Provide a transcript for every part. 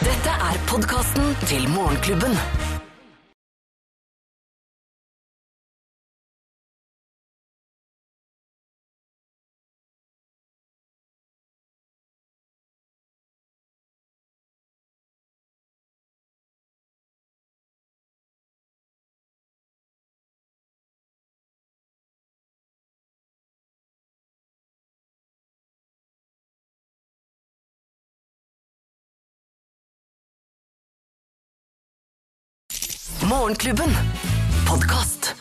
er podkasten til Morgenklubben. Morgenklubben. Podkast.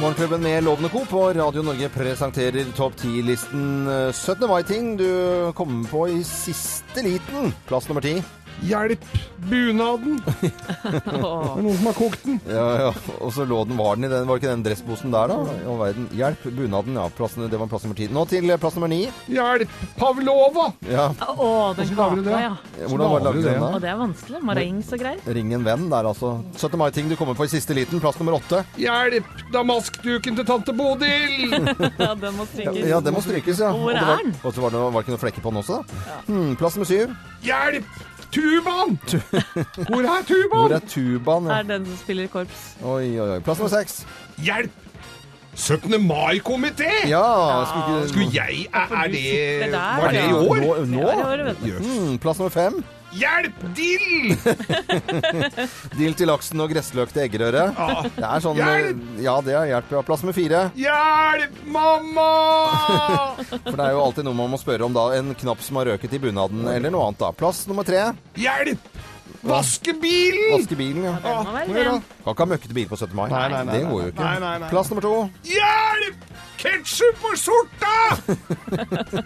Morgenklubben med Lovende Co. på Radio Norge presenterer Topp 10-listen eh, 17. mai-ting du kommer på i siste liten. Plass nummer 10. Hjelp! Bunaden! Det er noen som har kokt den. Ja, ja. Og så lå den, var den i den, var det ikke den dressposen der, da? I all verden. Hjelp, bunaden. Ja, plass, det var plass nummer 10. Nå til eh, plass nummer 9. Hjelp! Pavlova! Ja, Å, den Hvordan lager du det? kaka, ja. hvordan var det laget den Og da? det er vanskelig. Marengs og greier. Ring en venn der, altså. 17. mai-ting du kommer på i siste liten. Plass nummer 8. Hjelp! Damaskduken til tante Bodil! Ja, den må strykes. Ja, det må strykes, ja. Og hvor Og det er var- den? Og så var det, var det ikke noen flekker på den også, da. Hmm, plass nummer 7. Hjelp! Tubaen! Hvor er Hvor tubaen? er tubaen? Ja. Er den som spiller i korps. Oi, oi, oi. Plass nummer 6. Hjelp! 17. mai-komité! Ja, skulle ikke Skulle jeg Er, er det sitter der, Var det i ja. år? Nå? nå? Ja, det var det, vet du. Jøss. Mm, plass nummer fem. Hjelp! Dill! Dill til laksen og gressløk til eggerøre. Ah. Det er sånn Hjelp! Ja, det er hjelp. Ja. Plass nummer fire. Hjelp, mamma! For det er jo alltid noe man må spørre om da. En knapp som har røket i bunaden, eller noe annet da. Plass nummer tre. Hjelp! Vaskebilen! Vaske bilen, ja. Den må være hvor er ren. Kan ikke ha møkkete bil på 17. mai. Nei, nei, nei, det går jo nei, ikke. nei, nei, nei. Plass nummer to. Hjelp! Ketsjup på skjorta!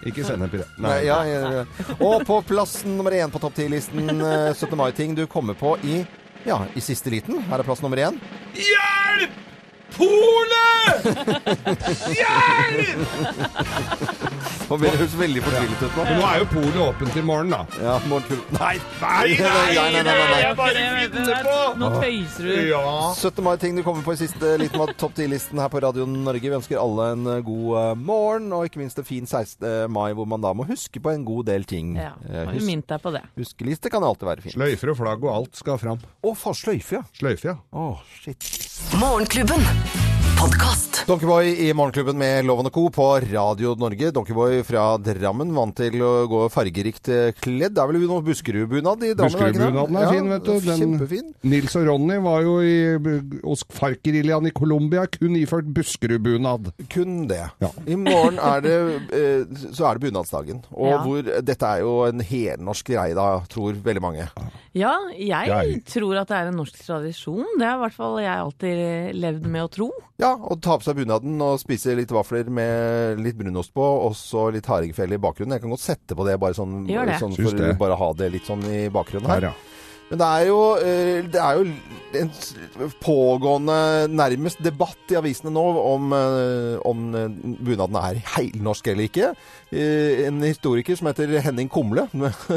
Ikke sennep i det. Nei, ja, ja, ja. Og på plass nummer én på topp ti-listen 17. mai-ting du kommer på i ja, i siste liten. Her er plass nummer én. Hjelp! Polet! Hjelp! Nå blir det høres veldig fortvilet ut nå. Nå er jo polet åpent i morgen, da. Ja, morgenklubben. Nei, Nei, Nei, nei, nei, nei, nei. Jeg bare finner på! Nå tøyser du. Ja. 17. mai-ting du kommer på i siste liten av topp 10-listen her på Radio Norge. Vi ønsker alle en eh, god eh, morgen, og ikke minst en fin 16. mai, hvor man da må huske på en god del ting. Ja, Eh, har du Husk, minnet deg på det. huskeliste kan alltid være fint. Sløyfer og flagg og alt skal fram. Å, faen, sløyfe, ja. Sløyfe, ja. Å, shit. Morgenklubben. Podkast. Donkeyboy i Morgenklubben med Loven og Co. på Radio Norge. Donkeyboy fra Drammen, vant til å gå fargerikt eh, kledd. Det er vel noe Buskerudbunad i Drammen? det ikke det? Buskerudbunaden er fin, vet du. Den- Kjempefin. Nils og Ronny var jo i, hos Farkeriljan i Colombia kun iført Buskerudbunad. Kun det. Ja. I morgen er det, eh, så er det bunadsdagen. Og Ja. hvor, dette er jo en helnorsk greie, da, tror veldig mange. Ja, jeg Jeg- tror at det er en norsk tradisjon. Det har i hvert fall jeg alltid levd med å tro. Ja, Å ta på seg bunaden og spise litt vafler med litt brunost på, og så litt hardingfele i bakgrunnen. Jeg kan godt sette på det, bare sånn, Gjør det. sånn Syns for det. bare ha det litt sånn i bakgrunnen her. Der, ja. Men det er jo, eh, det er jo en s- pågående nærmest debatt i avisene nå om, eh, om eh, bunaden er heilnorsk eller ikke. Eh, En historiker som heter Henning Kumle,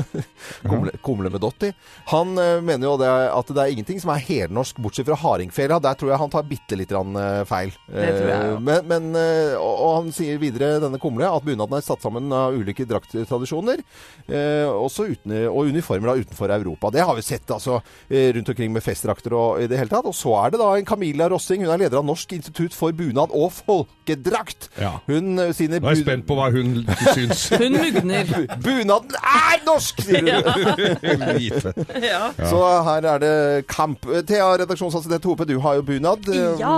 Kumle, Kumle med dott i, han eh, mener jo det, at det er ingenting som er helnorsk bortsett fra hardingfela. Der tror jeg han tar bitte litt grann, eh, feil. Det tror jeg, ja. Eh, Men, men, eh, og og han sier videre, denne Kumle, at bunaden er satt sammen av ulike drakttradisjoner. Eh, også uten, og uniformer da, utenfor Europa. Det har vi sett altså, eh, rundt omkring med festdrakter og i det hele tatt. Og så er det da en Camilla Rossing. Hun er leder av Norsk institutt for bunad og folkedrakt. Ja. Hun eh, sine Nå er jeg bun- spent på hva hun syns. Hun mugner. Bunaden er norsk! sier hun. Lite. Ja. Så her er det kamp. Eh, Thea, redaksjonsassistent Hope, du har jo bunad. Eh, Ja.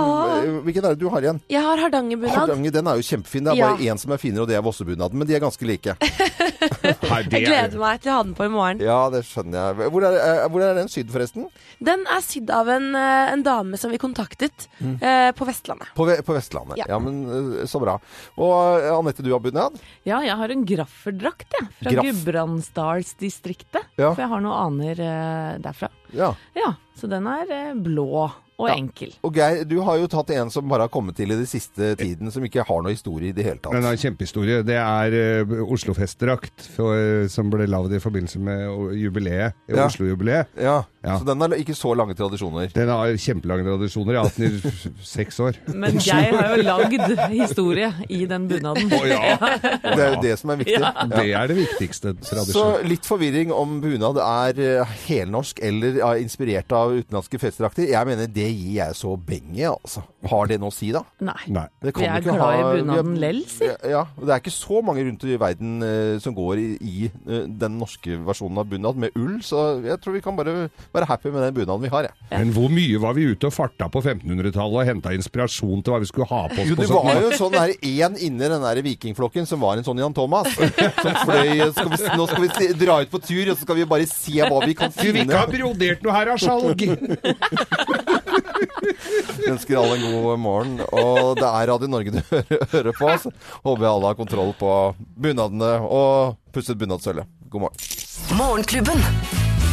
Hvilken er det du har igjen? Jeg har hardangerbunad. Hardanger, den er jo kjempefin. Det er Ja. bare én som er finere, og det er Vossebunaden. Men de er ganske like. Nei, det er Jeg gleder meg til å ha den på i morgen. Ja, det skjønner jeg. Hvor er, eh, hvor er den sydd, forresten? Den er sydd av en, eh, en dame som vi kontaktet Mm. eh, på Vestlandet. På, ve på Vestlandet. Ja, Ja. men eh, så bra. Og eh, Anette, du har bunad? ja, jeg har en grafferdrakt, jeg. Fra Graff. Gudbrandsdalsdistriktet. Ja. For jeg har noen aner eh, derfra. Ja. Ja, så den er eh, blå. og Ja. enkel. Og Geir, du har jo tatt en som bare har kommet til i den siste tiden, som ikke har noe historie i det hele Den tatt. har en kjempehistorie. Det er uh, Oslofestdrakt for- som ble lagd i forbindelse med uh, jubileet, Ja. Oslo-jubileet. Ja, Ja. Så den har ikke så lange tradisjoner. Den har kjempelange tradisjoner. Jeg har hatt den i seks år. Men Geir har jo lagd historie i den bunaden. Å ja, Det er jo det som er viktig. Ja. Ja. Det er det viktigste Så tradisjonen. litt forvirring om bunad er eh, helnorsk eller er inspirert av utenlandske festdrakter. Jeg mener det gir jeg så benge, altså. Har det noe å si, da? Nei. Nei. Det Vi er jo ikke glad i ha- vi er- bunaden lell, si. Ja, og det er ikke så mange rundt i verden eh, som går i, i eh, den norske versjonen av bunad med ull, så jeg tror vi kan bare være happy med den bunaden vi har, jeg. Men hvor mye var vi ute og farta på 1500-tallet og henta inspirasjon til hva vi skulle ha på oss? Jo, på det sånn- var jo sånn der én inni den der vikingflokken som var en sånn Jan Thomas. Som fløy eh, skal vi, Nå skal vi se- dra ut på tur, og så skal vi bare se hva vi kan Du vil ikke finne. ha brodert noe her av salg! Vi ønsker alle en god morgen. Og det er Radio Norge du hører, hører på. Så håper jeg alle har kontroll på bunadene og pusset bunadsølvet. God morgen. Morgenklubben.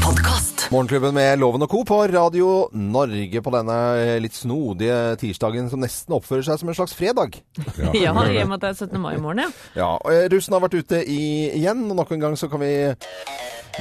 Podkast. Morgenklubben med Loven og Co. på Radio Norge på denne eh, litt snodige tirsdagen som nesten oppfører seg som en slags fredag. Ja, i og med at det er 17. mai i morgen, ja. Ja, og eh, russen har vært ute i, igjen, og nok en gang så kan vi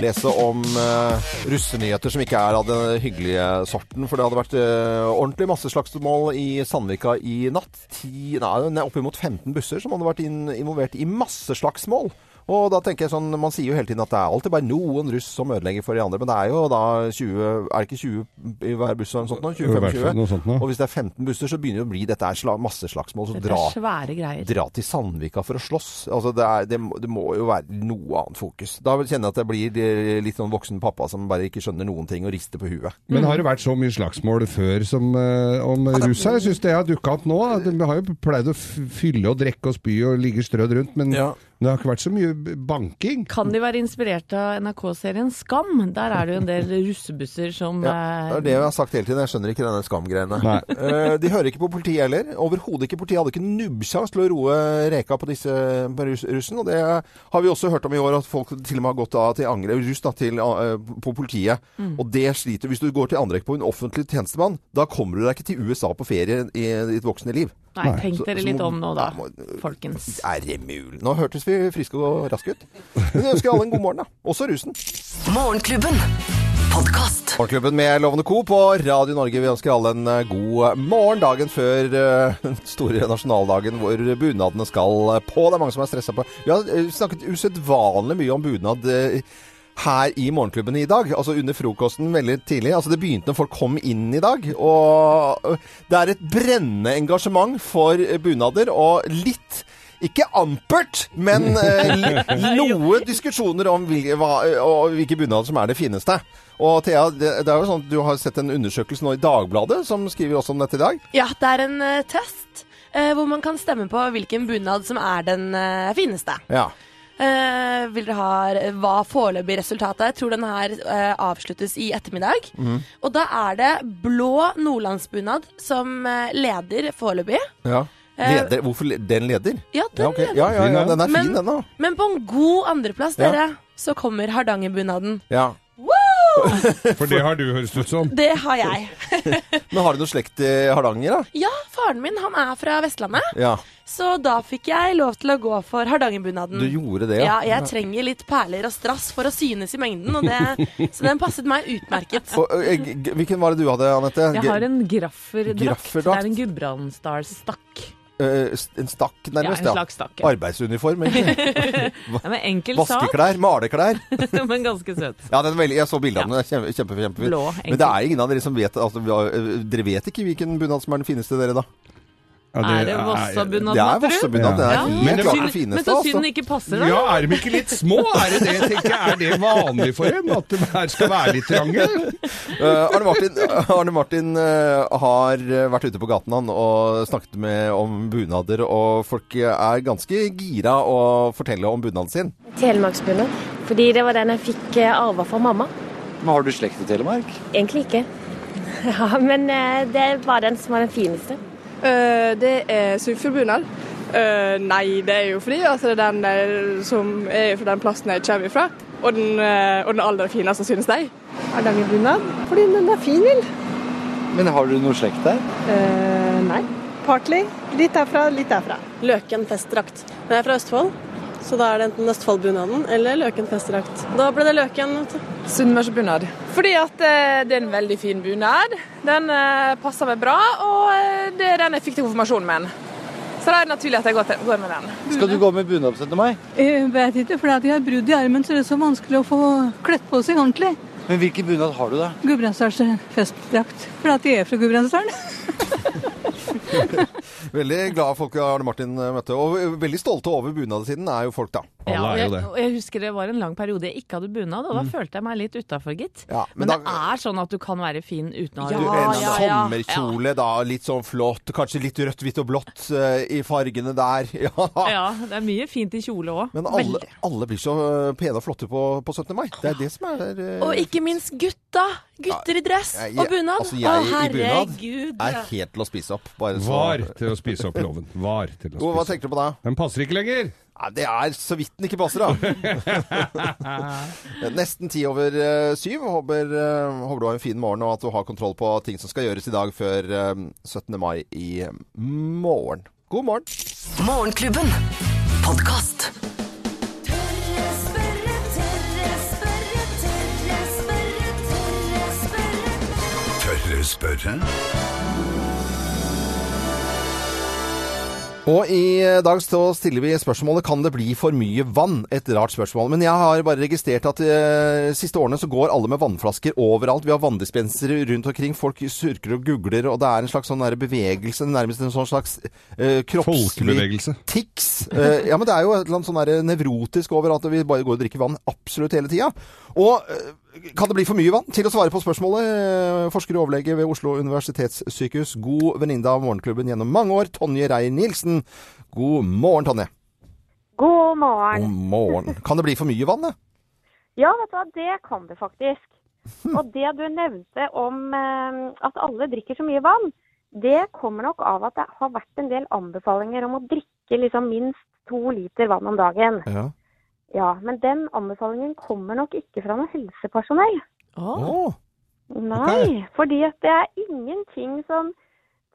lese om eh, russenyheter som ikke er av den hyggelige sorten. For det hadde vært eh, ordentlig masse slagsmål i Sandvika i natt. Ti, nei, det er oppimot 15 busser som hadde vært inn, involvert i masse slagsmål. Og da tenker jeg sånn, Man sier jo hele tiden at det er alltid bare noen russ som ødelegger for de andre, men det er jo da 20 Er det ikke 20 i hver buss? eller noe sånt nå? I hvert fall 25-20? noe sånt nå. Og hvis det er 15 busser, så begynner det å bli dette er sla, masse slagsmål. Så Dette dra, er svære greier. dra til Sandvika for å slåss. Altså, det, er, det, må- det må jo være noe annet fokus. Da kjenner jeg at jeg blir eh, litt sånn voksen pappa som bare ikke skjønner noen ting og rister på huet. Mm. Men har det vært så mye slagsmål før som eh, om Altså, russ her? Jeg syns det har dukka opp nå. De har jo pleid å f- fylle og drikke og spy og ligge strødd rundt, men Ja. det har ikke vært så mye b- banking. Kan de være inspirert av NRK-serien Skam? Der er det jo en del russebusser som Det eh, er det jeg har sagt hele tiden. Jeg skjønner ikke denne skamgreiene. Nei. Eh, de hører ikke på politiet heller. Overhodet ikke. Politiet hadde ikke nubbsjans til å roe reka på disse på russ, russen. Og det har vi også hørt om i år, at folk til og med har gått av til angre, russ da, til, eh, på politiet. Og det sliter. Hvis du går til anrekk på en offentlig tjenestemann, da kommer du deg ikke til USA på ferie i ditt voksne liv. Nei, tenk Så- dere så litt må- om nå da, Ja, må- folkens. Er det mulig? Nå hørtes vi friske og raske ut. Men jeg ønsker alle en god morgen, da. Også rusen. Morgenklubben. Podkast. Morgenklubben med Lovende Co. på Radio Norge. Vi ønsker alle en eh, god morgen dagen før eh, den store nasjonaldagen hvor bunadene skal eh, på. Det er mange som er stressa på. Vi har eh, snakket usedvanlig mye om bunad. eh, Her i morgenklubben i dag, altså under frokosten veldig tidlig. altså Det begynte når folk kom inn i dag. Og eh, det er et brennende engasjement for eh, bunader, og litt ikke ampert, men eh, li- noe diskusjoner om hvil- hva, og hvilke bunader som er det fineste. Og Thea, det, det er jo sånn at du har sett en undersøkelse nå i Dagbladet som skriver også om dette i dag. Ja, det er en eh, test eh, hvor man kan stemme på hvilken bunad som er den eh, fineste. Ja. Eh, vil dere ha hva foreløpig resultatet er? Jeg tror den her eh, avsluttes i ettermiddag. Mhm. Og da er det blå nordlandsbunad som eh, leder foreløpig. Leder, hvorfor le- den leder? Ja, Eh, den ja, ok. leder. ja, ja, ja, den er Men- fin, den da. Men på en god andreplass, Ja. dere, så kommer hardangerbunaden. Ja. Woo! For det har du høres ut som. Det har jeg. Men har du noe slekt i Hardanger, da? Ja, faren min han er fra Vestlandet, Ja. så da fikk jeg lov til å gå for hardangerbunaden. Du gjorde det, Ja, jeg trenger litt perler og strass for å synes i mengden, og det, så den passet meg utmerket. Og, ø, g- g- hvilken var det du hadde, Anette? Jeg har en grafferdrakt. Grafferdrakt? Det er en Gudbrandsdalsstakk. Ø, st- eh, en stakk, Ja, en nærmest. slags stakk. Ja. Arbeidsuniform, egentlig. Ja, men enkel sak, Vaskeklær, maleklær. men ganske søt. Ja, den er veldig, jeg så bildene. Ja. Kjempe, kjempe, kjempefint. Blå, Men det er ingen av dere som vet altså, vi har- ø, Dere vet ikke hvilken bunad som er den fineste, dere, da? Ja, Er det Det er Vossabunad, tror du? Vossabunad. Den er Ja. helt klart den Synd- Men fineste. så altså. synd den ikke passer, da. Ja, er de ikke litt små? Er det det, jeg tenker jeg? Er det vanlig for dem at de her skal være litt trange? Eh, Arne Martin, Arne Martin eh, har eh, vært ute på gaten han og snakket med om bunader, og folk eh, er ganske gira å fortelle om bunaden sin. Telemarksbunad. Fordi det var den jeg fikk eh, arva fra mamma. Men har du slekt i Telemark? Egentlig ikke. Ja, men eh, det var den som var den fineste. Eh, Det er surferbunad. Eh, Nei, det er jo fordi at det er den eh, som er fra den plassen jeg kommer fra. Og den, eh, og den aller fineste, synes de. Er den i bunad? Fordi den er fin, vel. Men har du noe slekt der? nei. Partly. Litt derfra, litt derfra. Løken festdrakt. Men jeg er fra Østfold, så da er det enten Østfoldbunaden eller Løken festdrakt. Da ble det Løken. vet du. Sunnmørsbunad. Fordi at eh, det er en veldig fin bunad. Den eh, passer meg bra, og eh, det er den jeg fikk til konfirmasjonen min. Så da er det naturlig at jeg går, til, går med den. Skal du gå med bunad 17. mai? Eh, Jeg vet ikke, for de har brudd i armen, så det er så vanskelig å få kledd på seg ordentlig. Men hvilken bunad har du, da? Gudbrandsdals festdrakt, for at de er fra Gudbrandsdalen. Veldig glad folk Arne Martin eh, møtte. Og veldig stolte over bunaden sin er jo folk, da. Ja, og jeg, og jeg husker det var en lang periode jeg ikke hadde bunad, og da Mm. følte jeg meg litt utafor, gitt. Ja, men men da- det er sånn at du kan være fin uten å ha Du, en sommerkjole, da. Litt sånn flott. Kanskje litt rødt, hvitt og blått eh, i fargene der. Ja. Ja. ja, det er mye fint i kjole òg. Men alle, alle blir så eh, pene og flotte på, på 17. mai. Det er det som er eh, Og ikke minst gutta. Gutter i dress jeg- og bunad. Altså, jeg Å, i bunad herregud. er helt til å spise opp. Bare så- Var til å spise opp loven. Var til å Jo, spise Hva tenker du på da? Den passer ikke lenger. Nei, det er så vidt den ikke passer, da. Nesten ti over eh, syv. Håper, eh, håper du har en fin morgen, og at du har kontroll på ting som skal gjøres i dag før eh, 17. mai i morgen. God morgen. Morgenklubben. Podkast. Tørre spørre? Og i eh, dag så stiller vi spørsmålet Kan det bli for mye vann? Et rart spørsmål. Men jeg har bare registrert at de siste årene så går alle med vannflasker overalt. Vi har vanndispensere rundt omkring. Folk surker og googler, og det er en slags sånn der bevegelse. Nærmest en sånn slags eh, kroppslig Folkebevegelse. tics. Eh, ja, men det er jo et eller annet sånn der nevrotisk over at vi bare går og drikker vann absolutt hele tida. Og eh, kan det bli for mye vann? Til å svare på spørsmålet, eh, forsker og overlege ved Oslo universitetssykehus, god venninne av Morgenklubben gjennom mange år, Tonje Reier-Nielsen. God morgen, Tonje. God morgen. God morgen. Kan det bli for mye vann, da? Ja, vet du hva, det kan det faktisk. Og det du nevnte om eh, at alle drikker så mye vann, det kommer nok av at det har vært en del anbefalinger om å drikke liksom minst to liter vann om dagen. Ja. Ja, men den anbefalingen kommer nok ikke fra noe helsepersonell. Å. Nei, fordi at det er ingenting som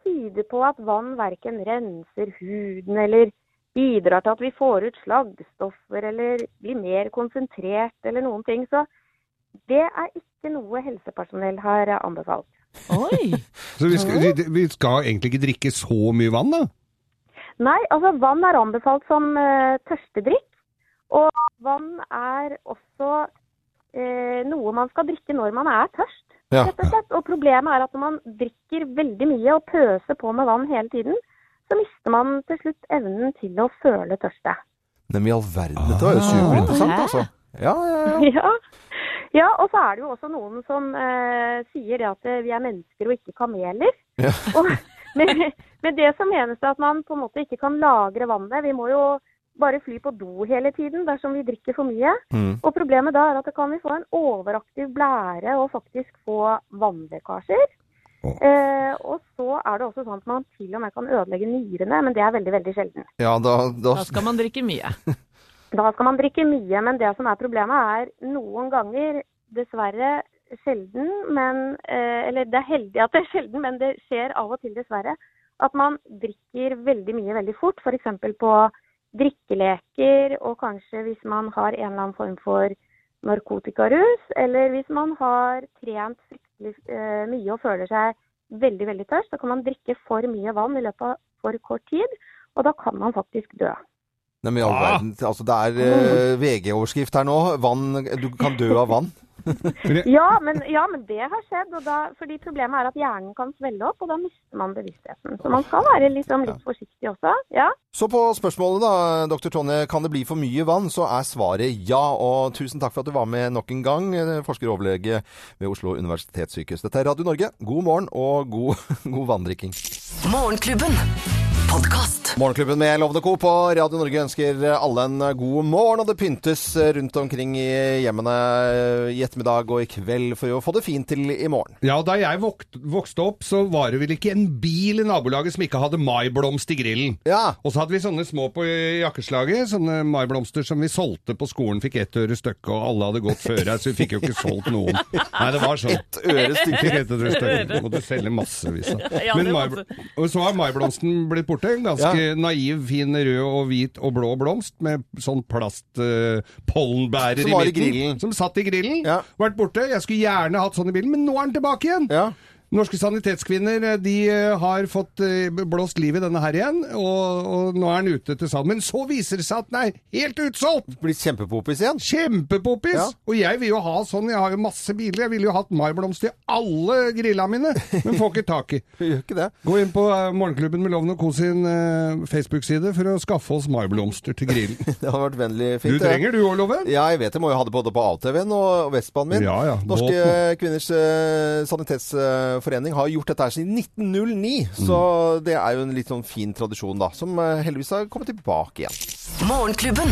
tyder på at vann verken renser huden eller bidrar til at vi får ut slaggstoffer eller blir mer konsentrert eller noen ting. Så det er ikke noe helsepersonell har anbefalt. Så vi skal, vi, vi skal egentlig ikke drikke så mye vann, da? Nei, altså vann er anbefalt som eh, tørstedrikk. Og vann er også eh, noe man skal drikke når man er tørst. Ja. Rett og slett. Og problemet er at når man drikker veldig mye og pøser på med vann hele tiden, så mister man til slutt evnen til å føle tørste. Neimen i all verden, dette var jo superinteressant, Hæ? altså. Ja, ja, ja. Ja. ja, og så er det jo også noen som eh, sier det at eh, vi er mennesker og ikke kameler. og med, med det som menes det at man på en måte ikke kan lagre vannet. Vi må jo bare fly på do hele tiden dersom vi drikker for mye. Mm. Og problemet da er at da kan vi få en overaktiv blære og faktisk få vannlekkasjer. Eh, og så er det også sånn at man til og med kan ødelegge nyrene, men det er veldig, veldig sjelden. ja da, da, Da skal man drikke mye. Da skal man drikke mye, men det som er problemet er noen ganger, dessverre sjelden, men eh, Eller det er heldig at det er sjelden, men det skjer av og til, dessverre, at man drikker veldig mye veldig fort. F.eks. på drikkeleker, og kanskje hvis man har en eller annen form for narkotikarus, eller hvis man har trent fryktelig eh, mye og føler seg veldig, veldig tørst, da kan man drikke for mye vann i løpet av for kort tid, og da kan man faktisk dø. Neimen i all verden, altså det er eh, VG-overskrift her nå. Vann Du kan dø av vann. Ja men, ja, men det har skjedd. Og da, fordi problemet er at hjernen kan svelle opp, og da mister man bevisstheten. Så man skal være liksom litt forsiktig også. Ja. Så på spørsmålet da, dr. Tonje, kan det bli for mye vann? Så er svaret ja. Og tusen takk for at du var med nok en gang, eh, forsker og overlege ved Oslo universitetssykehus. Dette er Radio Norge. God morgen og god, god vanndrikking. Morgenklubben. Morgenklubben med Lovende Co. på Radio Norge ønsker alle en god morgen. Og det pyntes rundt omkring i hjemmene i ettermiddag og i kveld for å få det fint til i morgen. Ja, da jeg vok vokste opp, så var det vel ikke en bil i nabolaget som ikke hadde maiblomst i grillen. Og så hadde vi sånne små på jakkeslaget, sånne maiblomster som vi solgte på skolen, fikk ett øre stykket, og alle hadde gått før her, så vi fikk jo ikke solgt noen. Nei, det var sånn. Ett øre stykket. Fikk ett øre stykket. Vi måtte selge massevis av. Ja, Men det var maibl- Og så har maiblomsten blitt borte. En ganske naiv, fin rød og hvit og blå blomst med sånn plastpollenbærer Som i var i midten. grillen. Som satt i grillen. Vært borte. Jeg skulle gjerne hatt sånn i bilen, men nå er den tilbake igjen. Norske sanitetskvinner eh, de eh, har fått eh, blåst liv i denne her igjen, og, og nå er den ute til salg. Men så viser det seg at den er helt utsolgt! Blitt kjempepopis igjen? Kjempepoppis! Ja. Og jeg vil jo ha sånn, jeg har jo masse biler, jeg ville jo hatt maiblomst i alle grilla mine, men får ikke tak i. Gjør ikke det. Gå inn på eh, Morgenklubben med Loven og Co sin eh, Facebook-side for å skaffe oss maiblomster til grillen. Det hadde vært vennlig fint. det. Du trenger du òg, Loven. Ja, jeg vet jeg må jo ha det både på ATV-en og Vestbanen min. Ja, ja. Norske Båten. kvinners eh, sanitetsforening har gjort dette her siden 1909, så det er jo en litt sånn fin tradisjon da, som eh, heldigvis har kommet tilbake igjen. Morgenklubben.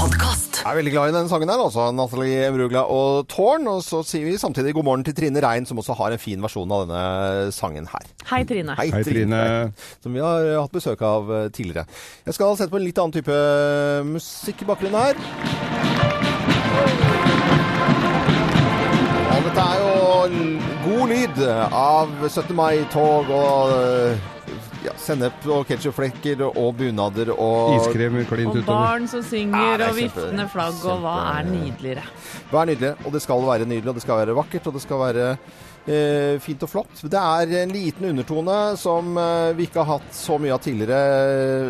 Podcast. Jeg er veldig glad i denne sangen her, altså Natalie Brugla og Tårn, og så sier vi samtidig god morgen til Trine Rein, som også har en fin versjon av denne sangen her. Hei, Trine. Hei, Trine. Som vi har eh, hatt besøk av eh, tidligere. Jeg skal sette på en litt annen type eh, musikk i bakgrunnen her. Og dette er jo l- god lyd eh, av 17. mai-tog og eh, ja, sennep og ketsjupflekker og bunader og Iskremer klint Og barn som Ja, synger det er og kjempe- viftende flagg, og hva er nydeligere? Det er nydelig, og det skal være nydelig, og det skal være vakkert, og det skal være eh, fint og flott. Det er en liten undertone som eh, vi ikke har hatt så mye av tidligere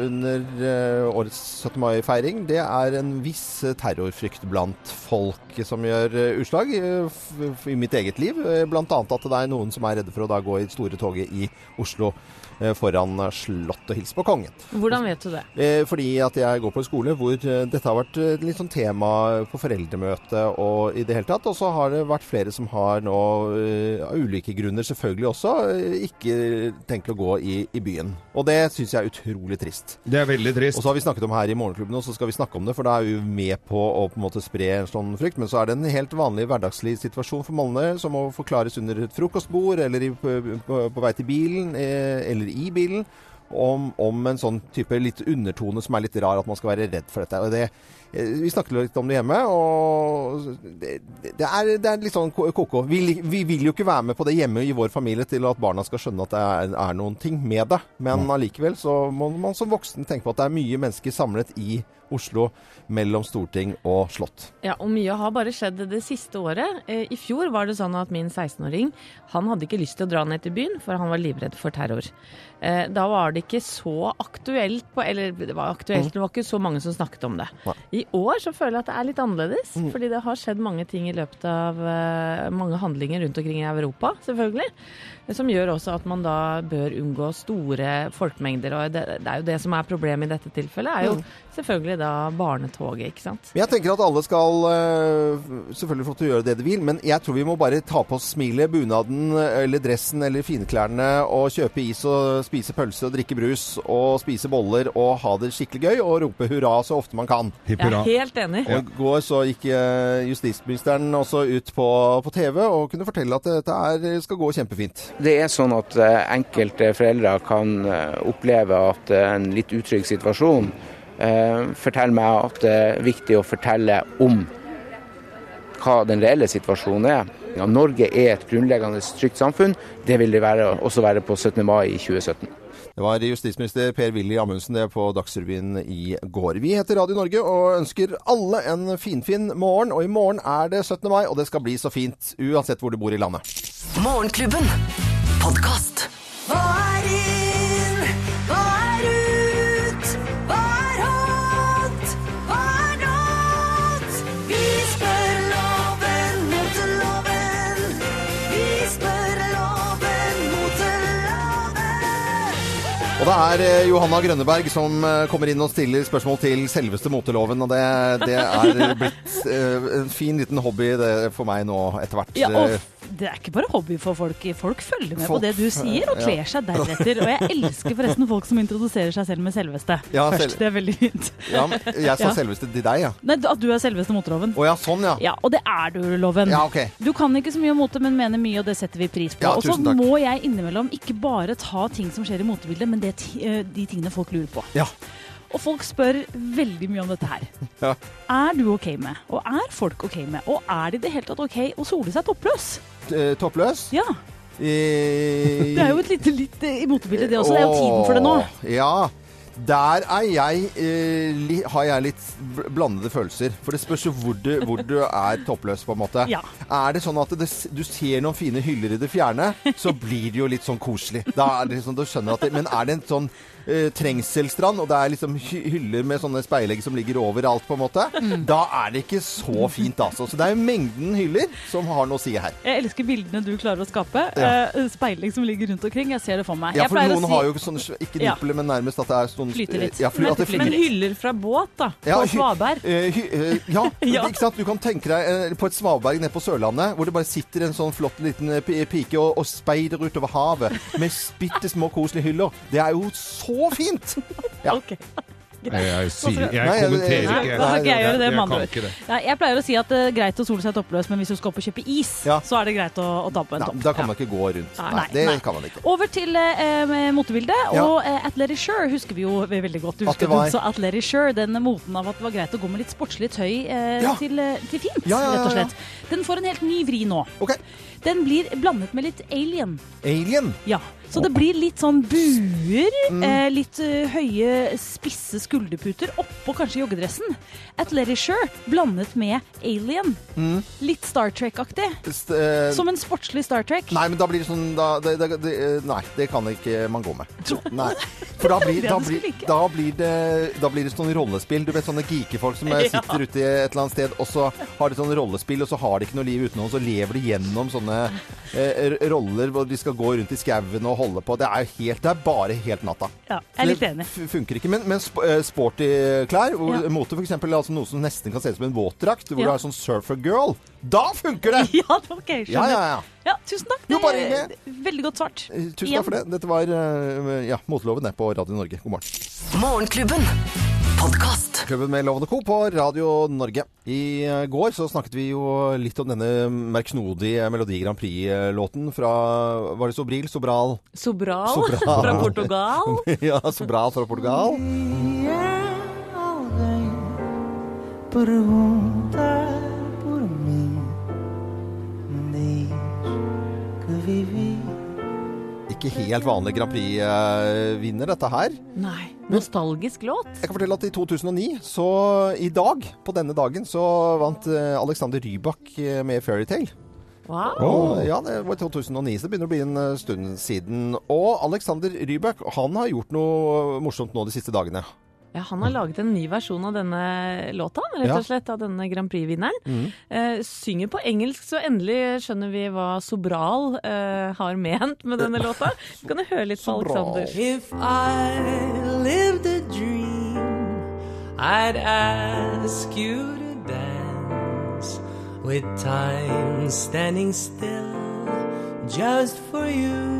under eh, årets 17. mai-feiring. Det er en viss terrorfrykt blant folk som gjør eh, utslag, eh, f- i mitt eget liv. Eh, Blant annet at det er noen som er redde for å da gå i store toget i Oslo eh, foran slottet og hilse på kongen. Hvordan vet du det? Eh, fordi at jeg går på en skole hvor eh, dette har vært eh, litt sånn tema på foreldremøte og i det hele tatt. Og så har det vært flere som har nå, eh, av ulike grunner selvfølgelig også, eh, ikke tenkt å gå i, i byen. Og det syns jeg er utrolig trist. Det er veldig trist. Og så har vi snakket om her i Morgenklubben, og så skal vi snakke om det, for da er vi jo med på å på en måte spre en sånn frykt. Men så er det en helt vanlig hverdagslig situasjon for mange som må forklares under et frokostbord, eller i, på, på, på vei til bilen, eh, eller i bilen. Om, om en sånn type litt undertone som er litt rar, at man skal være redd for dette. Og det, eh, vi snakket litt om det hjemme, og det, det, er, det er litt sånn ko- ko-ko. Vi, lik- vi vil jo ikke være med på det hjemme i vår familie til at barna skal skjønne at det er, er noen ting med det, men allikevel så må man som voksen tenke på at det er mye mennesker samlet i Oslo mellom storting og slott. Ja, og Mye har bare skjedd det siste året. Eh, I fjor var det sånn at min 16-åring han hadde ikke lyst til å dra ned til byen, for han var livredd for terror. Eh, Da var det ikke så aktuelt på Eller det var aktuelt, Mhm. det var ikke så mange som snakket om det. I år så føler jeg at det er litt annerledes, fordi det har skjedd mange ting i løpet av eh, mange handlinger rundt omkring i Europa, selvfølgelig. eh, Som gjør også at man da bør unngå store folkemengder. Og det, det er jo det som er problemet i dette tilfellet, er jo Mhm. selvfølgelig da barnetoget, ikke sant. Men jeg tenker at alle skal eh, selvfølgelig få til å gjøre det de vil, men jeg tror vi må bare ta på oss smilet, bunaden eh, eller dressen eller finklærne og kjøpe is og spise pølse og drikke brus og spise boller og ha det skikkelig gøy og rope hurra så ofte man kan. Hipp hurra. Jeg er helt enig. Og i går så gikk eh, justisministeren også ut på, på TV og kunne fortelle at dette er, skal gå kjempefint. Det er sånn at eh, enkelte foreldre kan eh, oppleve at eh, en litt utrygg situasjon eh, forteller meg at det er viktig å fortelle om hva den reelle situasjonen er. Ja, Norge er et grunnleggende trygt samfunn. Det vil det være, også være på 17. mai i 2017. Det var justisminister Per-Willy Amundsen det på Dagsrevyen i går. Vi heter Radio Norge og ønsker alle en finfin morgen. Og i morgen er det 17. mai, og det skal bli så fint uansett hvor du bor i landet. Morgenklubben. Podcast. Hva er inn? Hva er ut? Hva er hot? Hva er not? Vi spør loven mot loven. Vi spør loven mot loven. Og det er eh, Johanna Grønneberg som eh, kommer inn og stiller spørsmål til selveste moteloven. Og det, det er blitt eh, en fin liten hobby det, for meg nå etter hvert. Ja, og Eh, det er ikke bare hobby for folk. Folk følger med Folk på det du sier, følger- og ja. kler seg deretter. Og jeg elsker forresten folk som introduserer seg selv med selveste. Ja, Først, selv- Det er veldig fint. Ja, men jeg sa Ja. selveste til deg, ja. Nei, at du er selveste motorloven. Å ja, sånn ja. Ja, og det er du, Loven. Ja, ok. Du kan ikke så mye om mote, men mener mye, og det setter vi pris på. Ja, og så tusen takk. må jeg innimellom ikke bare ta ting som skjer i motebildet, men det, ti- eh, de tingene folk lurer på. Ja. Og folk spør veldig mye om dette her. Ja. Er du OK med, og er folk OK med, og er det i det hele tatt OK å sole seg toppløs? Eh, Toppløs? Ja. Eh, Det er jo et lite litt eh, i motebildet, det også. Det er jo tiden for det nå. Åh, Ja. Der er jeg, eh, li, har jeg litt bl- blandede følelser. For det spørs jo hvor du, hvor du er toppløs, på en måte. Ja. Er det sånn at det, s- du ser noen fine hyller i det fjerne, så blir det jo litt sånn koselig. Da er det sånn, du skjønner at det, Men er det en sånn eh, trengselstrand, og det er liksom hy- hyller med sånne speilegg som ligger overalt, på en måte, Mm. da er det ikke så fint, altså. Så det er jo mengden hyller som har noe å si her. Jeg elsker bildene du klarer å skape. Ja. Eh, Speiling som ligger rundt omkring. Jeg ser det for meg. Ja, Jeg for pleier å noen si- har jo ikke sånne, sv- ikke Ja. nipler, men nærmest at det er sånn Flyter litt. Ja, fly, at det flyter men litt. hyller fra båt, da. Ja, på hy- Svaberg. eh, hy- eh, ja, Ja. ikke sant? Du kan tenke deg eh, på et svaberg nede på Sørlandet, hvor det bare sitter en sånn flott liten eh, pi- pike og, og speider utover havet med bitte små koselige hyller. Det er jo så fint! Ja. Jeg, jeg, sier, jeg Nei, jeg- kommenterer Nei, ikke. da skal ikke jeg gjøre det, Jeg med andre kan ord. ikke det. Nei, jeg pleier å si at det er greit å sole seg toppløs, men hvis du skal opp og kjøpe is, så er det greit å, å ta på en Nei, topp. da kan man ikke gå rundt. Nei, Nei, det nei. kan man ikke. Over til eh, eh, motebildet. Ja. Og eh, Atletisure husker vi jo veldig godt. Du At det husker var- også Atletisure, den moten av at det var greit å gå med litt sportslig tøy eh, Ja. til, eh, til fint, Ja, ja, ja, rett og ja. slett. Den får en helt ny vri nå. Den blir blandet med litt alien. Alien? Ja, så det blir litt sånn buer, Mm. eh, litt eh, høye, spisse skulderputer oppå kanskje joggedressen. Atletisure blandet med alien. Mm. Litt Star Trek-aktig. St- eh, Som en sportslig Star Trek. Nei, men da blir det sånn da, det, det, det, eh, Nei, det kan ikke man gå med. Nei. For da blir, Det da, du blir, skulle like. da, blir det, da blir det sånn rollespill. Du vet sånne geekefolk som eh, Ja. sitter ute et eller annet sted, og så har de sånn rollespill, og så har de ikke noe liv utenom, så lever de gjennom sånne eh, r- roller hvor de skal gå rundt i skauen og holde på. Det er, jo helt, det er bare helt natta. Ja, jeg er litt enig. Det f- funker ikke. Men, men sp eh, sporty klær, hvor, Ja. mote f.eks., altså noe som nesten kan se ut som en våtdrakt, hvor du Ja. har sånn surfer girl, da funker det! Ja, ok, skjønner. Ja, ja, ja. Ja, tusen takk. Jo, Det- bare hyggelig. Veldig godt svart. Eh, Tusen takk for det. Dette var eh, ja, Moteloven det, på Radio Norge. God morgen. Morgenklubben. Podkast. Klubben med Loven og Co. på Radio Norge. I eh, går så snakket vi jo litt om denne merksnodige Melodi Grand Prix-låten fra Var det Sobril? Sobral? Sobral, Sobral. fra Portugal. ja, Sobral fra Portugal. Pergunta por mim, diz que vivi. Ikke helt vanlig Grand Prix-vinner, dette her. Nei. Nostalgisk låt. Jeg kan fortelle at i 2009, så i dag, på denne dagen, så vant eh, Alexander Rybak eh, med Fairytale. Wow. Og, ja, det var i 2009, så det begynner å bli en eh, stund siden. Og Alexander Rybak, han har gjort noe eh, morsomt nå de siste dagene. Ja, han har laget en ny versjon av denne låta, rett Ja. og slett, av denne Grand Prix-vinneren. Mhm. Eh, synger på engelsk, så endelig skjønner vi hva Sobral eh, har ment med denne låta. Så kan du høre litt på Alexander. If I lived a dream, I'd ask you to dance with time standing still just for you.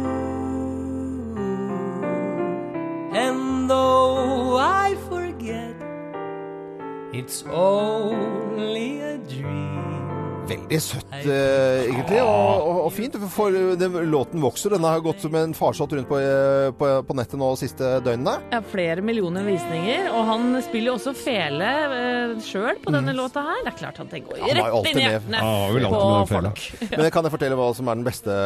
And though I forget, it's only a dream. Veldig søtt, eh, egentlig, og, og, og fint. For eh, den, låten vokser. Den har gått som en farsott rundt på, eh, på, på nettet nå de siste døgnene. Ja, flere millioner visninger, og han spiller jo også fele eh, sjøl på denne låta her. Det er klart at det går Mm. Han var jo rett alltid inn i med. hjertene på folk. Men jeg kan jeg fortelle hva som er den beste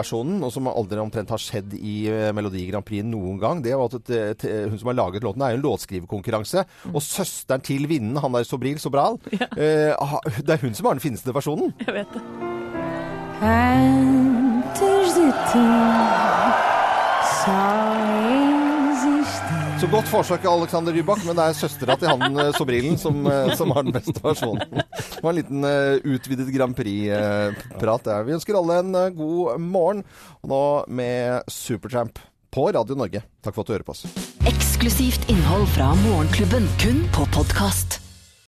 versjonen, og som aldri omtrent har skjedd i eh, Melodi Grand Prix noen gang. Det var at et- et- hun som har laget låten, det er jo en låtskriverkonkurranse. Og søsteren til vinnen, han der Sobril Sobral, eh, ha- det er hun som har den fineste versjonen. Jeg vet det. Antes de ti só existir. Så godt forsøk, Alexander Rybak, men det er søstera til han eh, Sobrilen som, eh, som har den beste versjonen. Det var en liten eh, utvidet Grand Prix-prat der. Vi ønsker alle en eh, god morgen, og nå med Supertramp på Radio Norge. Takk for at du hører på oss. Eksklusivt innhold fra Morgenklubben, kun på podkast.